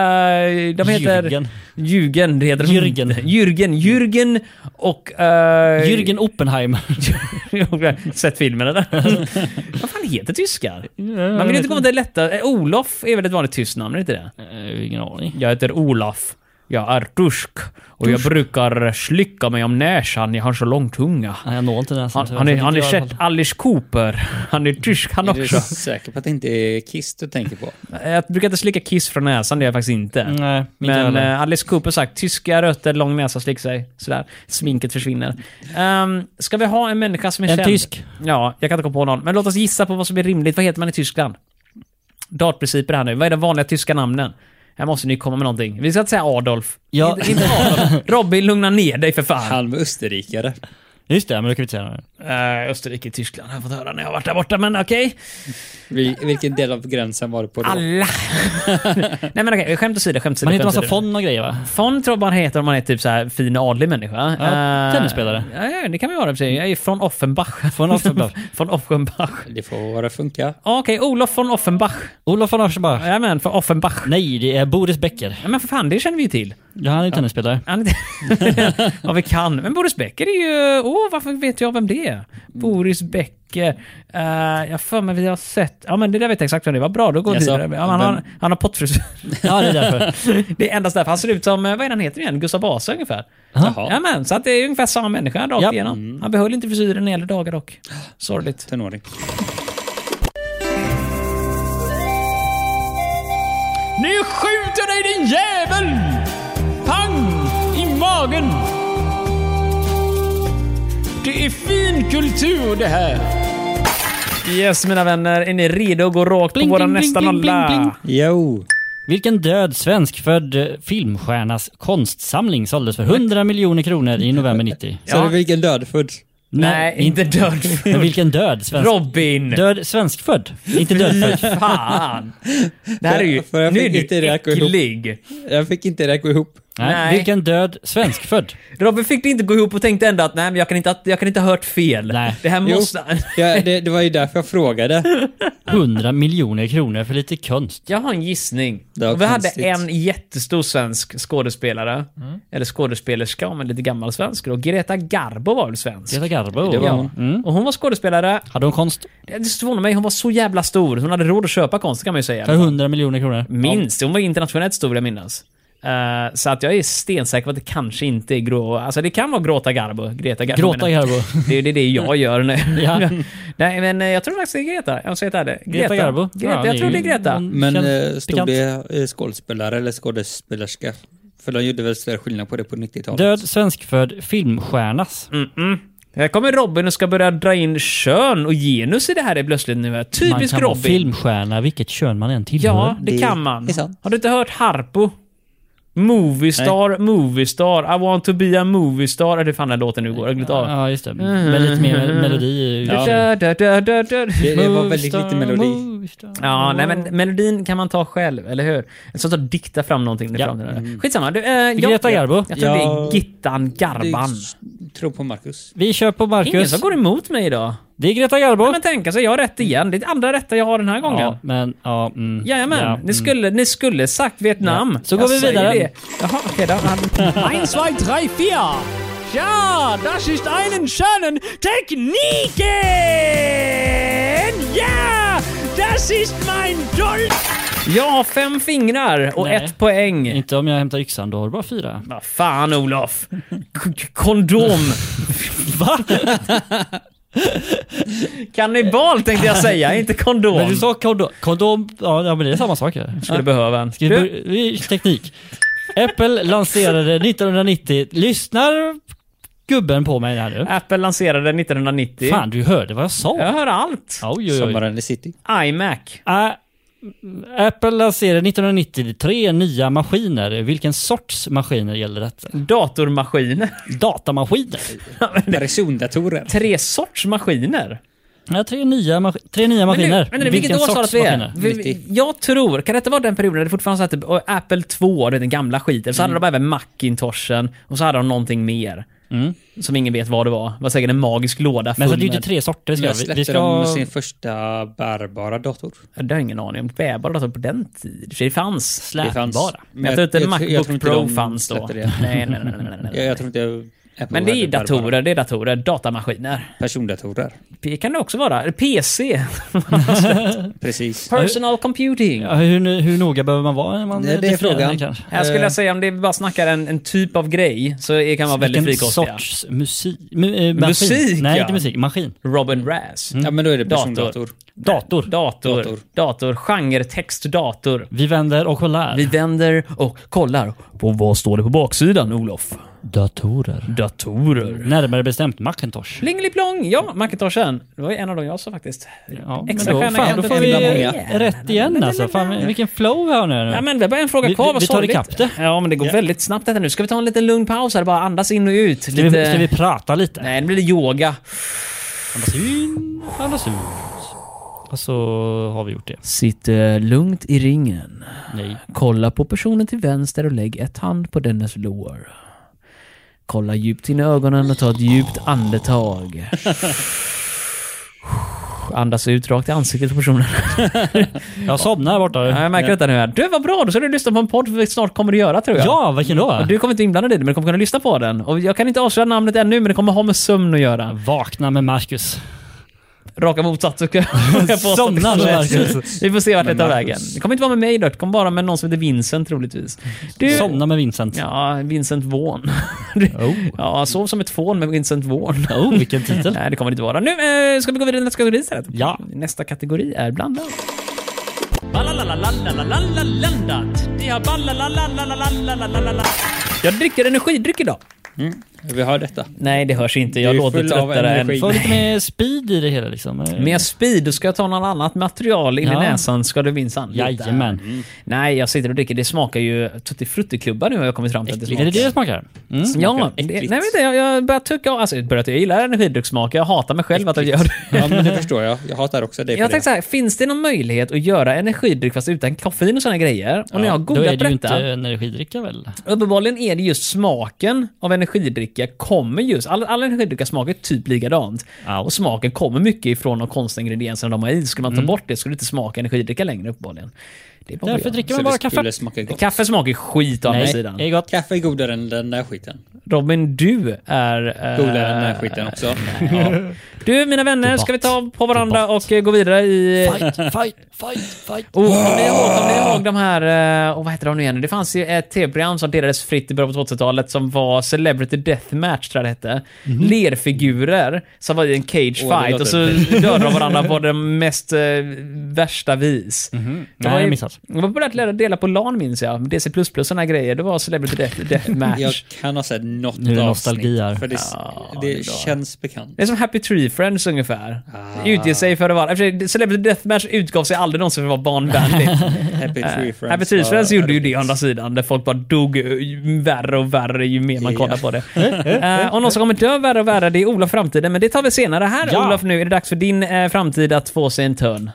S1: de heter...
S3: Jürgen.
S1: Jürgen, det heter de
S3: Jürgen.
S1: inte. Jürgen. Jürgen och... eh,
S3: Jürgen Oppenheimer.
S1: jag har sett filmerna där. Vad fan heter tyskar? Man vill inte gå med det lätta. Eh, Olof är väl ett vanligt tyskt namn, är det inte det?
S3: Eh, Ingen aning.
S1: Jag heter Olof. Jag är tusk. Och jag brukar slicka mig om näsan. Jag har så lång tunga.
S3: Nej, jag når inte den.
S1: Han, han, är, han är sett Alice Cooper. Han är tysk han
S2: Är
S1: också.
S2: du säker på att det inte är Kiss du tänker på?
S1: Jag brukar inte slicka kiss från näsan, det gör jag faktiskt inte.
S3: Nej, inte
S1: Men
S3: heller.
S1: eh, Alice Cooper sagt, tyska rötter, lång näsa, slick sig. Sådär. Sminket försvinner. Ehm, ska vi ha en människa som är
S3: En
S1: känd?
S3: tysk.
S1: Ja, jag kan inte komma på någon. Men låt oss gissa på vad som är rimligt. Vad heter man i Tyskland? Dartprinciper här nu. Vad är de vanliga tyska namnen? Här måste ni komma med någonting. Vi ska inte säga Adolf.
S3: Ja.
S1: Inte, inte Adolf. Robin, lugna ner dig för fan.
S2: Han var österrikare.
S3: Just det, men det kan vi inte säga. nu.
S1: Eh, Österrike, Tyskland. Jag har fått höra när jag har varit där borta, men okej.
S2: Vil- Vilken del av gränsen var du på då?
S1: Alla. Nej men okej, skämt åsido, skämt åsido.
S3: Man
S1: skämt
S3: heter massa
S1: åsido.
S3: fond och grejer va?
S1: Fon tror jag man heter om man är typ så här fin adlig människa.
S3: Ja,
S1: Eh,
S3: tennisspelare.
S1: Ja, ja, det kan vi vara i och för sig. Jag är från Offenbach.
S3: Von Offenbach.
S1: från Offenbach.
S2: Det får funka.
S1: Ja, Okej, Olof von Offenbach.
S3: Olof von Aschenbach.
S1: Jajamän, från Offenbach.
S3: Nej, det är Boris Becker.
S1: Ja, men för fan, det känner vi ju till.
S3: Ja, han är tennisspelare.
S1: Han är inte- Vad vi kan. Men Boris Becker är ju... Åh, oh, varför vet jag vem det är? Boris Becker. Eh, jag har för mig vi har sett... Ja, men det där vet jag exakt vem det var. Bra, då går vi
S2: Jaså?
S1: vidare. Ja, han, har,
S2: Vem?
S1: han har pottfrisyr.
S3: Ja, det är därför.
S1: det är endast därför. Han ser ut som... eh, Vad är det han heter igen? Gustav Vasa ungefär.
S2: Jaha,
S1: Ja, men, så att det är ungefär samma människa rakt
S3: Ja.
S1: igenom. Han behöll inte frisyren i äldre dagar dock. Sorgligt.
S2: tenåring.
S1: Nu skjuter dig din jävel! Pang! I magen! Det är fin kultur det här! Yes mina vänner, är ni redo att gå rakt
S3: Bling,
S1: på våran
S3: bling,
S1: nästa
S3: bling, bling,
S1: nolla?
S3: bling, bling.
S2: Jo.
S3: Vilken död svenskfödd eh, filmstjärnas konstsamling såldes för 100 miljoner kronor i november 90?
S2: Så det är vilken dödfödd?
S1: Nej, inte död.
S3: Men vilken död svensk...
S1: Robin!
S3: Död svenskfödd? Inte dödfödd.
S1: Fan! Det här är ju...
S2: För jag
S1: nu
S2: fick
S1: är du
S2: inte det att gå ihop.
S1: äcklig!
S2: Jag fick inte det att gå ihop.
S3: Nej.
S1: Nej.
S3: Vilken död svenskfödd?
S1: Robin fick det inte gå ihop och tänkte ändå att nej, men jag kan inte, jag kan inte ha hört fel.
S3: Nej.
S1: Det här
S2: Jo.
S1: måste...
S2: Ja, det, det var ju därför jag frågade.
S3: 100 miljoner kronor för lite konst.
S1: Jag har en gissning.
S2: Det var
S1: Och vi hade
S2: konstigt.
S1: en jättestor svensk skådespelare,
S3: Mm.
S1: eller skådespelerska, men lite gammal svensk då. Greta Garbo var väl svensk?
S3: Greta Garbo. Mm.
S2: Det var
S1: ja.
S2: hon. Mm.
S1: Och hon var skådespelare.
S3: Hade hon konst?
S1: Det förvånar mig, hon var så jävla stor. Hon hade råd att köpa konst kan man ju säga.
S3: För 100 miljoner kronor.
S1: Minst. Hon var internationellt stor vill jag minnas. Eh, så att jag är stensäker på att det kanske inte är grå... Alltså det kan vara Gråta Garbo. Greta Garbo.
S3: Gråta
S1: menar jag.
S3: Garbo.
S1: Det är det, är det jag gör nu.
S3: Ja.
S1: Nej men eh, jag tror faktiskt det är Greta. Jag säger det. Greta,
S3: Greta Garbo.
S1: Greta,
S3: Ja,
S1: jag tror det är
S3: ju-
S1: Greta.
S3: hon
S2: Men
S3: känns
S2: eh, stod
S3: pikant.
S2: det eh, skådespelare eller skådespelerska? För de gjorde väl större skillnad på det på 90-talet?
S3: Död svenskfödd filmstjärnas.
S1: Här kommer Robin och ska börja dra in kön och genus i det här är plötsligt nu.
S3: man
S1: Typiskt
S3: kan vara Mm.
S1: Robin.
S3: filmstjärna vilket kön man än tillhör.
S1: ja, det,
S2: Det
S1: kan man.
S2: är sant.
S1: Har du inte hört Harpo? Moviestar, moviestar, I want to be a moviestar. Ja, Det är fan den låten nu går, jag har glömt av.
S3: Ja, just det.
S1: Mm.
S3: Men lite mer melodi.
S1: Da, da, da, da, da.
S2: Det, det var väldigt lite melodi.
S1: Ja, nej men melodin kan man ta själv, eller hur? En sån att dikta fram någonting. där
S3: Ja. Mm.
S1: Fram till det där. Skitsamma. Du, eh, jag,
S3: Greta Garbo.
S1: Jag, jag tror
S2: Ja.
S1: det är Gittan Garban.
S2: Det- Tror på Marcus.
S3: Vi kör på
S1: Ingen
S3: Marcus.
S1: som går emot mig idag.
S3: Det är Greta Garbo.
S1: Men tänka sig, jag har rätt igen. Det är andra rätta jag har den här gången.
S3: ja, men ja. Mm,
S1: Jajamän, ni, skulle, ni skulle sagt Vietnam.
S3: Ja. Så går vi
S1: säger
S3: vidare.
S1: det. Jaha, okej då. Ein, zwei, drei, vier. Ja, das ist einen schönen Tekniken! Ja, das ist mein Dolch! Jag har fem fingrar och
S3: Nej.
S1: ett poäng.
S3: Inte om jag hämtar yxan, då har du bara fyra.
S1: Vad fan Olof! K- k- kondom! Va? Kannibal tänkte jag säga, inte kondom.
S3: Men du sa kondom. Kondom, ja ja, men det är samma sak. ju.
S1: skulle behöva en.
S3: Ska vi börja- vi- Teknik. Apple lanserade 1990. Lyssnar gubben på mig här nu?
S1: Apple lanserade 1990.
S3: Fan, du hörde vad jag sa.
S1: Jag hör allt.
S3: Oj, oj, oj.
S2: Sommaren i city.
S1: iMac.
S3: Ah, Apple lanserade 1993 nya maskiner. Vilken sorts maskiner gäller detta?
S1: Datormaskiner.
S3: Datamaskiner.
S2: Persondatorer.
S1: Tre sorts maskiner.
S3: Ja, tre nya, mas- tre nya
S1: Men nu,
S3: maskiner.
S1: men nu, vilket år sa du att vi är? Vi- vi-
S2: 90.
S1: Jag tror, kan detta vara den perioden där det fortfarande satt typ, och Apple 2, den gamla skiten, så hade de även Macintoshen och så hade de någonting mer. Som ingen vet vad det var. Det var säkert en magisk låda full
S3: Men så det är ju
S1: med...
S3: inte tre sorter. Ska
S2: När
S3: jag. Vi,
S2: släppte
S3: vi ska...
S2: de sin första bärbara dator?
S1: Jag har ingen aning om bärbara datorer på den tiden. Det fanns.
S3: Släpbara.
S2: Det fanns.
S1: Men jag tror inte
S2: jag- jag tror
S1: Macbook
S2: inte
S1: Pro
S2: de
S1: fanns då.
S2: släppte
S1: Nej,
S2: det.
S1: nej, nej, nej, nej, nej.
S2: Jag, jag tror inte Apple
S1: Men det är
S2: hade
S1: datorer,
S2: bärbara
S1: det är datorer, datamaskiner.
S2: Persondatorer.
S1: Det kan det också vara. Eller PC.
S2: Precis.
S1: Personal computing.
S3: Ja, hur, hur noga behöver man vara? när Man
S2: Det- det är
S3: definierar
S2: frågan.
S3: kanske?
S1: Här skulle jag säga om det bara snackar en, en typ av grej så det kan vara väldigt
S3: Vilken
S1: frikostiga.
S3: sorts musik? mu- eh, maskin.
S1: Musik,
S3: Nej,
S1: ja.
S3: inte musik. Maskin.
S1: Robin Razz.
S2: Ja, men då är det
S1: Dator.
S2: persondator.
S3: Dator.
S1: Mm. Dator. Dator.
S2: Dator.
S1: Dator. Genre, text, dator.
S3: Vi vänder och kollar.
S1: Vi vänder och kollar på vad står det på baksidan, Olof?
S3: Datorer.
S1: Datorer.
S3: Närmare bestämt Macintosh.
S1: Plingeliplong! Ja, Macintoshen. Det var ju en av dem jag sa faktiskt.
S3: Ja, men
S1: Extra
S3: då,
S1: stjärna
S3: fan,
S1: kan
S3: då
S1: inte
S3: får vi
S1: hända många.
S3: rätt igen alltså. Fan, vilken flow vi har nu.
S1: Ja, men det är bara en fråga
S3: Vi-
S1: kvar,
S3: vi-
S1: vad
S3: vi tar
S1: sorgligt.
S3: ikapp det.
S1: Ja, men det går väldigt snabbt detta nu. Ska vi ta en liten lugn paus här? Bara andas in och ut.
S3: ska,
S1: Lite...
S3: vi, ska vi prata lite?
S1: Nej, det blir yoga.
S3: Andas in, andas ut. Och så har vi gjort det.
S1: Sitt eh, lugnt i ringen.
S3: Nej.
S1: Kolla på personen till vänster och lägg ett hand på dennes lår. Kolla djupt in i ögonen och ta ett djupt andetag. Andas ut rakt i ansiktet på personen.
S3: Jag somnar här borta.
S1: Ja, jag märker detta nu. Här. Du, vad bra! Då ska du lyssna på en podd vi snart kommer att göra, tror jag.
S3: Ja, vilken då?
S1: Och Du kommer inte inblandad i det, men du kommer kunna lyssna på den. Och jag kan inte avslöja namnet ännu, men det kommer ha med sömn att göra.
S3: Vakna med Marcus.
S1: Raka motsatsen. kan jag påstå.
S3: Somnar med Marcus.
S1: Vi får se vart det tar
S2: Marcus.
S1: vägen. Det kommer inte vara med mig då, det kommer bara med någon som heter Vincent troligtvis. Du,
S3: Somna med Vincent.
S1: Ja, Vincent Vaughn. Du-
S3: Oh.
S1: Ja, sov som ett fån med Vincent Vaughn.
S3: Oh, vilken titel.
S1: Nej, det kommer det inte vara. Nu eh, ska vi gå vidare till nästa kategori istället.
S3: Ja.
S1: Nästa kategori är blandat. Ballalalalalalalalalandat. Det har ballalalalalalalalalalala. Jag dricker energidryck idag.
S2: Vi har detta.
S1: Nej, det hörs inte. Jag
S2: Du är
S1: låter
S2: full av
S1: tröttare än...
S2: energi.
S3: Får lite mer speed i det hela liksom.
S1: Mer speed, då ska jag ta något annat material in i
S3: Ja.
S1: näsan ska du minsann hitta.
S3: Jajamän.
S1: Mm. Nej, jag sitter och dricker. Det smakar ju Tutti Frutti-klubba nu har jag kommit fram till att det
S3: Är det
S1: smakar.
S3: det det smakar? Mm.
S1: Ja, det, nej,
S2: äckligt.
S1: men det, jag, jag börjar tycka om... Alltså, jag börjar, tycka- jag gillar energidryckssmaker. Jag hatar mig själv att jag gör det.
S2: Ja, men det förstår jag. Jag hatar också dig för
S1: Jag
S2: det.
S1: tänkte så här, finns det någon möjlighet att göra energidryck fast utan koffein och sådana grejer? Och när jag har
S3: Då är
S1: googlat på
S3: det ju
S1: detta,
S3: inte energidricka väl?
S1: uppenbarligen är det just smaken av energidricka kommer just... Alla, alla energidricka smakar typ likadant.
S3: Ja.
S1: Och smaken kommer mycket ifrån de konstiga ingredienserna de har i. Skulle man
S3: Mm.
S1: ta bort det skulle det inte smaka energidricka längre uppenbarligen. Oh, Det är bara
S3: Därför
S1: att göra.
S3: dricker
S2: Så
S3: man bara
S2: det skulle
S3: kaffe.
S2: smaka gott.
S1: Kaffe smakar skit å andra
S3: Nej,
S1: sidan.
S3: det är gott.
S2: Kaffe är godare än den där skiten.
S1: Robin, du är... eh,
S2: Godare än den där skiten också.
S3: Äh,
S1: Du, mina vänner,
S3: Debatt.
S1: ska vi ta på varandra och eh, gå vidare i...
S3: Fight, fight, fight, fight.
S1: Oh, kommer ni ihåg, kommer ni ihåg de här... eh, Och vad heter de nu igen? Det fanns ju ett tv-program som delades fritt i början på 2000-talet som var Celebrity Deathmatch, tror jag det hette. Lerfigurer som var i en cage
S2: Åh, det
S1: fight och så
S2: låter-
S1: dödade de varandra på det mest eh, värsta vis.
S3: Nej,
S1: var
S3: jag
S1: ju-
S3: missat.
S1: Det var populärt att dela på LAN, minns jag. DC++ och såna grejer. Det var Celebrity Death, Deathmatch.
S2: Jag kan ha sett något
S3: äh. Nu är det
S2: avsnitt,
S3: nostalgi här.
S2: För det,
S1: Ja, det är
S2: det
S1: bra.
S2: känns bekant.
S1: Det är som Happy Tree Friends ungefär. Utger sig för att vara... i och för sig, Celebrity Deathmatch utgav sig aldrig någonsin för att vara barnvänligt.
S2: Happy Tree Friends.
S1: Äh, Happy Tree
S2: var-
S1: Friends gjorde ju det å andra sidan, där folk bara dog eh, ju värre och värre ju mer man
S2: Ja.
S1: kollar på det. Eh, och någon som kommer dö värre och värre, det är Olof Framtiden, men det tar vi senare. Här
S3: Ja.
S1: Olof, nu är det dags för din eh, framtid att få sig en törn.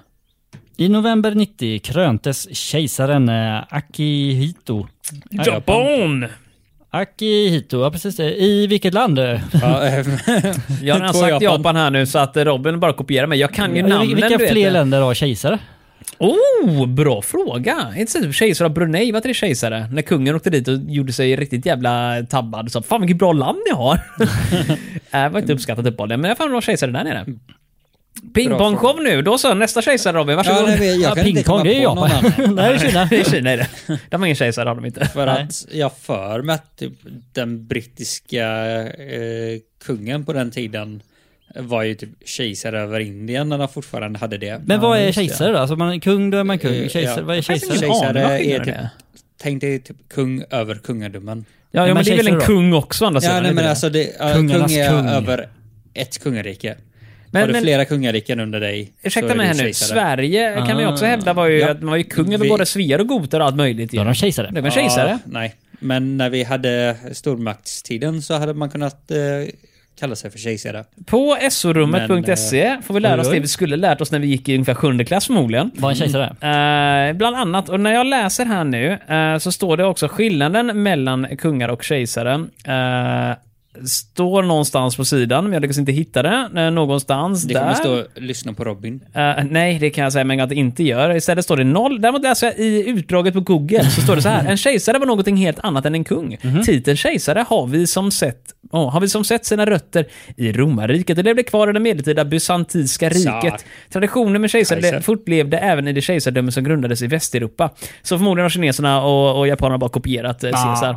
S3: I november 90 kröntes kejsaren eh, Akihito.
S1: Japan!
S3: Akihito, ja precis det. I vilket land? eh?
S2: Ja, ehm,
S1: Jag har redan
S2: Två
S1: sagt Japan.
S2: Japan.
S1: här nu, så att eh, Robin bara kopierar mig. Jag kan ju namnen,
S3: Vilka
S1: du vet.
S3: fler länder har kejsare?
S1: Oh, bra fråga! Är inte så typ kejsare av Brunei, var inte det kejsare? När kungen åkte dit och gjorde sig riktigt jävla tabbad och sa “Fan vilket bra land ni har!” Det var inte uppskattat uppenbarligen, men jag fan bra kejsare där nere. Pingpongshow nu, då så. Nästa kejsare Robin,
S2: ja,
S1: varsågod.
S2: nej, men
S3: Ja,
S2: jag kan inte
S3: Pingkong,
S2: komma
S3: det är
S2: på någon
S3: Japan.
S2: annan.
S3: Nej, Kina.
S1: det är Kina är det. De har ingen kejsare, har de inte.
S2: För
S3: Nej.
S2: att jag för mig att typ, den brittiska eh, kungen på den tiden var ju typ kejsare över Indien när de fortfarande hade det.
S3: Men vad är kejsare då? Alltså man är kung, då är man kung.
S2: Eh,
S3: Kejsare,
S2: ja.
S3: vad är
S1: ingen
S3: kejsare?
S1: aning vad
S2: Kejsare är
S1: skillnaden
S2: typ,
S1: är.
S2: tänk dig typ kung över kungadömen.
S1: Ja, ja men,
S3: men
S1: det är väl en
S3: kejsare då?
S2: Alltså,
S1: kung också å andra sidan?
S2: Ja,
S1: är
S2: nej,
S1: det
S2: men
S1: det?
S2: alltså det, ja, kung
S3: Kungarnas
S2: är
S3: kung.
S2: över ett kungarike.
S1: Men-
S2: har du
S1: men-
S2: flera kungariken under dig
S1: Ursäkta mig här nu.
S2: Sverige.
S1: Sverige kan vi också hävda var ju
S2: Ah. Ja.
S1: att man var ju kung över
S2: Vi-
S1: både Svear och goter och allt möjligt. ju.
S3: Då är de kejsare.
S1: Det var en kejsare.
S2: Ja, nej, men när vi hade stormaktstiden så hade man kunnat eh, kalla sig för kejsare.
S1: På
S2: eh,
S1: sorummet.se E får vi lära oss
S3: oj, oj.
S1: det vi skulle lärt oss när vi gick i ungefär sjunde klass förmodligen.
S3: Var en kejsare?
S1: Eh, bland annat, och när jag läser här nu eh, så står det också skillnaden mellan kungar och kejsare. eh, står någonstans på sidan, men jag lyckas inte hitta det. Eh, någonstans
S2: Det
S1: där.
S2: kommer stå lyssna på Robin.
S1: Eh, nej, det kan jag säga mig att det inte gör. Istället står det noll. Däremot läser jag i utdraget på Google så står det så här. En kejsare var någonting helt annat än en kung. Titeln kejsare har vi, som sett, åh, har vi som sett sina rötter i romarriket och levde kvar i det medeltida bysantinska riket.
S2: Exakt.
S1: Traditionen med kejsare
S2: Kejsare.
S1: fortlevde även i det kejsardöme som grundades i Västeuropa. Så förmodligen har kineserna och, och japanerna bara kopierat eh, Caesar.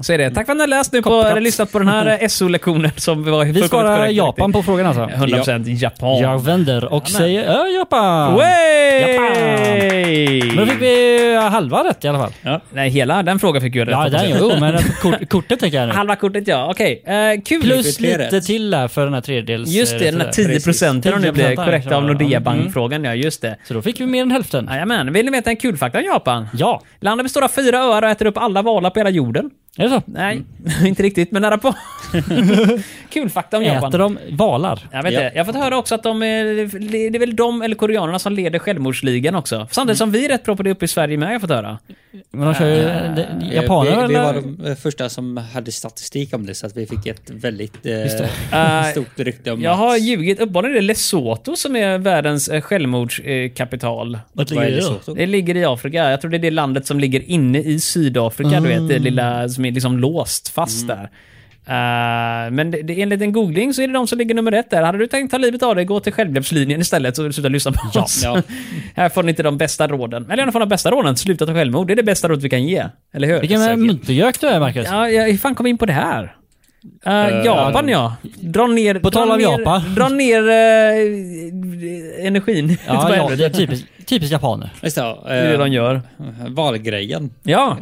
S1: Så är det. Tack för att ni har läst nu på,
S3: Kopiat.
S1: eller lyssnat på den här eh, SO-lektionen som vi var
S3: Vi svarar Japan på frågan alltså.
S1: 100% Japan.
S3: Jag vänder och säger ja, Japan.
S1: Way!
S3: Men då fick vi eh, halva rätt i alla fall.
S1: Nej, hela den frågan fick ju rätt.
S3: Ja,
S1: hoppas
S3: den
S1: jag.
S3: jo, men att kort, kortet tänker jag nu.
S1: Halva kortet ja, okej. Eh, kul!
S3: Plus
S2: det är
S3: lite
S2: rätt.
S3: till där för den här tredjedels...
S1: Just det, den här 10 procenten om det blir
S3: 10% här,
S1: korrekt
S3: kanske
S1: av
S3: var det.
S1: Nordea
S3: Mm.
S1: Bank-frågan, ja just det.
S3: Så då fick vi mer än hälften.
S1: Jajamän, vill ni veta en kul fakta om Japan?
S3: Ja,
S1: Landet består av fyra öar och äter upp alla valar på hela jorden.
S3: är det så?
S1: Nej, inte riktigt, men nära på. kul fakta om Japan.
S3: Mm. Äter de valar?
S1: Jag vet
S2: Ja.
S1: inte. Jag har fått höra också att de är, det är väl de eller koreanerna som leder självmordsligan också. Samtidigt som vi är rätt bra på det uppe i Sverige med, har jag fått höra.
S3: Men de kör ju de-
S2: Eh,
S3: japaner
S2: vi,
S3: eller?
S2: vi var de eh, första som hade statistik om det så att vi fick ett väldigt eh,
S1: Eh,
S2: stort rykte om
S1: Jag
S2: att-
S1: har ljugit. Uppenbarligen är det Lesotho som är världens eh, självmordskapital.
S2: Vad
S3: Vart ligger
S2: är
S3: det
S2: det
S3: då?
S2: så?
S1: Det ligger i Afrika. Jag tror det är det landet som ligger inne i Sydafrika, du vet,
S2: Mm.
S1: det lilla som är liksom låst fast där. Eh, men det, det, enligt en googling så är det de som ligger nummer ett där. Hade du tänkt ta livet av dig, gå till självhjälpslinjen istället så sluta lyssna på oss.
S2: ja.
S1: Här får ni inte de bästa råden. Eller i alla fall de bästa råden, sluta ta självmord. Det är det bästa rådet vi kan ge. Eller hur?
S3: Vilken muntergök du är Marcus.
S1: Ja, jag, hur fan kom vi in på det här? Eh, Japan ja. Dra ner... På
S3: tal om
S1: ner,
S3: Japan.
S1: Dra ner eh, energin.
S3: Ja, ja det är typiskt typisk japaner.
S2: Just det, ja,
S1: det är det de
S2: eh,
S1: gör.
S2: valgrejen.
S1: Ja.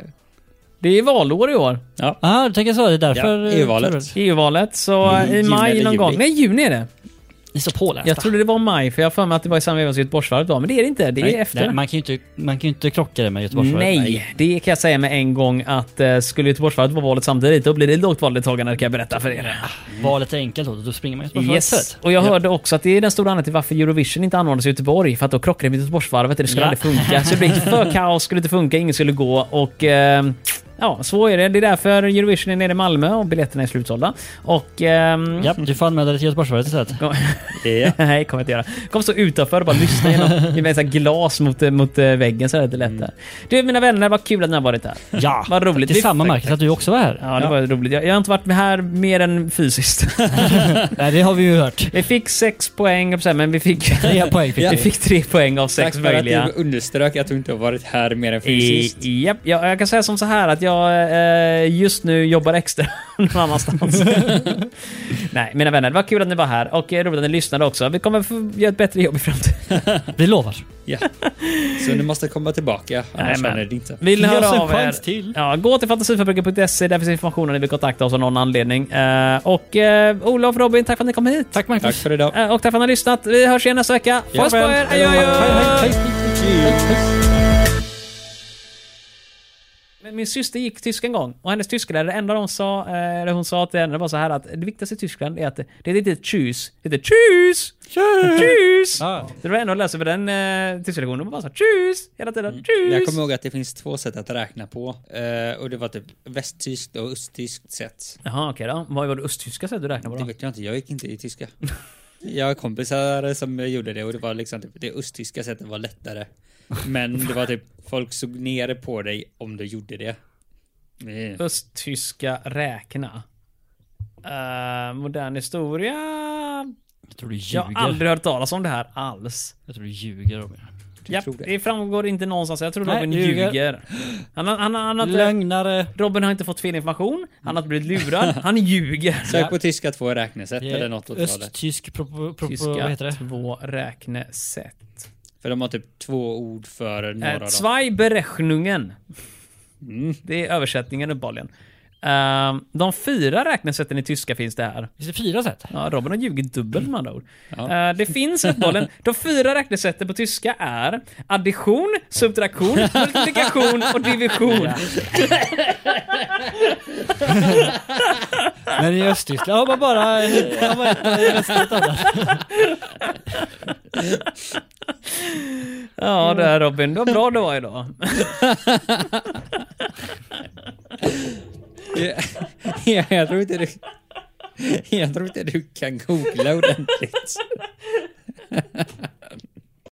S1: Det är valår i år.
S3: Ja, du tänker så. Det är därför...
S2: Ja,
S1: eh,
S2: EU-valet.
S1: EU-valet. Så
S2: Mm,
S1: i
S2: juni
S1: maj
S2: eller
S1: någon
S2: juli?
S1: gång. Nej, juni är det.
S3: Ni är så pålästa.
S1: Jag trodde det var maj, för jag har för mig att det var i samma veva som Göteborgsvarvet var. Men det är det inte. Det är
S2: Nej,
S1: efter.
S3: Nej, man kan ju inte, man kan ju inte krocka det med Göteborgsvarvet.
S1: Nej, det kan jag säga med en gång att eh, skulle Göteborgsvarvet vara valet samtidigt, då blir det lågt valdeltagande kan jag berätta för er.
S3: Valet är enkelt då, då springer man Göteborgsvarvet
S1: Yes.
S3: istället.
S1: Och jag hörde också att det är den stora anledningen till varför Eurovision inte anordnas i Göteborg. För att då krockade det med Göteborgsvarvet. Det skulle
S3: Ja.
S1: aldrig funka. Så det blev för kaos, skulle inte funka, ingen skulle gå. Och eh, ja, så är det. Det är därför Eurovision är nere i Malmö och biljetterna är slutsålda. Och... ehm,
S3: Ja, du får anmäla dig till Göteborgsvarvet istället.
S1: kom-
S2: Ja.
S1: Nej, kommer jag inte göra. Kom stå utanför och bara lyssna genom med så här glas mot, eh, mot eh, väggen så är det lite lättare. Du mina vänner, vad kul att ni har varit här.
S3: Mm. Ja,
S1: Vad roligt.
S3: Det är
S1: Vi-
S3: samma Marcus att du också var här.
S1: Ja, det var roligt. Jag, jag har inte varit här mer än fysiskt.
S3: Nej, det har vi ju hört.
S1: Vi fick sex poäng, så här, men vi fick...
S3: Tre poäng fick
S1: Vi
S3: vi.
S1: fick tre poäng av sex
S2: Tack för att
S1: möjliga.
S2: du underströk att du inte har varit här mer än fysiskt.
S1: I, japp, jag, jag kan säga som så här att jag eh, just nu jobbar extra någon annanstans. Nej, mina vänner, det var kul att ni var här och eh, roligt att ni lyssnade också. Vi kommer få göra ett bättre jobb i framtiden.
S3: Vi lovar.
S2: Ja. Så ni måste komma tillbaka, annars
S1: Jajamän.
S2: känner ni det inte.
S1: Vill ni
S3: Ge oss
S1: höra
S3: en
S1: av er?
S3: chans till.
S1: Ja, gå till fantasifabriken.se, där finns information om ni vill kontakta oss av någon anledning. Eh, och eh, Olof, Robin, tack för att ni kom hit.
S3: Tack Marcus.
S2: Tack för idag.
S1: Eh, och tack för att ni har lyssnat. Vi hörs igen nästa vecka. Puss på er! Adjö, adjö. Men Min syster gick tysk en gång och hennes tysklärare, det enda de sa, eh, eller hon sa till henne var så här att det viktigaste i Tyskland är att det det är inte tjus, det är tjus! Tjus!
S3: Ja.
S1: Det var ändå att läsa över den eh, tyska lektionen, man bara sa tjus hela tiden.
S2: Mm. Jag
S1: Tjus!
S2: kommer ihåg att det finns två sätt att räkna på. Eh, och det var typ västtyskt och östtyskt sätt.
S1: Jaha okej då. Vad var det östtyska sätt du räknade på
S2: Det
S1: då?
S2: vet jag inte, jag gick inte i tyska. Jag har kompisar som gjorde det och det var liksom typ, det östtyska sättet var lättare. Men det var typ, folk såg ner på dig om du gjorde det. Mm.
S1: Östtyska räkna. Eh, modern historia.
S3: Jag tror du ljuger.
S1: Jag har aldrig hört talas om det här alls.
S3: Jag tror du ljuger Robin.
S1: Japp,
S2: tror det.
S1: det framgår inte någonstans. Jag tror
S3: Nej,
S1: Robin
S3: du ljuger.
S1: ljuger. Han, har- han, har- han, har inte-
S3: Lögnare.
S1: Robin har inte fått fel information, han har blivit lurad, han ljuger.
S2: Sök på tyska två räknesätt eller något åt det hållet.
S3: Östtysk propo, propo, vad
S1: Tyska
S3: heter det?
S1: två räknesätt.
S2: För de har typ två ord för några
S1: Eh,
S2: av dem.
S3: Mm.
S1: Zwei Berechnungen. Det är översättningen uppenbarligen. Ehm, de fyra räknesätten i tyska finns det här.
S3: Finns det fyra sätt?
S1: Ja, Robin har ljugit dubbelt med andra ord.
S2: Ja.
S1: Eh, det finns uppenbarligen, de fyra räknesätten på tyska är addition, subtraktion, multiplikation och division.
S3: Men i Östtyskland har man bara... Har man inte röstat annars.
S1: Ja, det är Robin. Det var bra det var idag.
S2: Jag, jag, tror inte du, jag tror inte du kan googla ordentligt.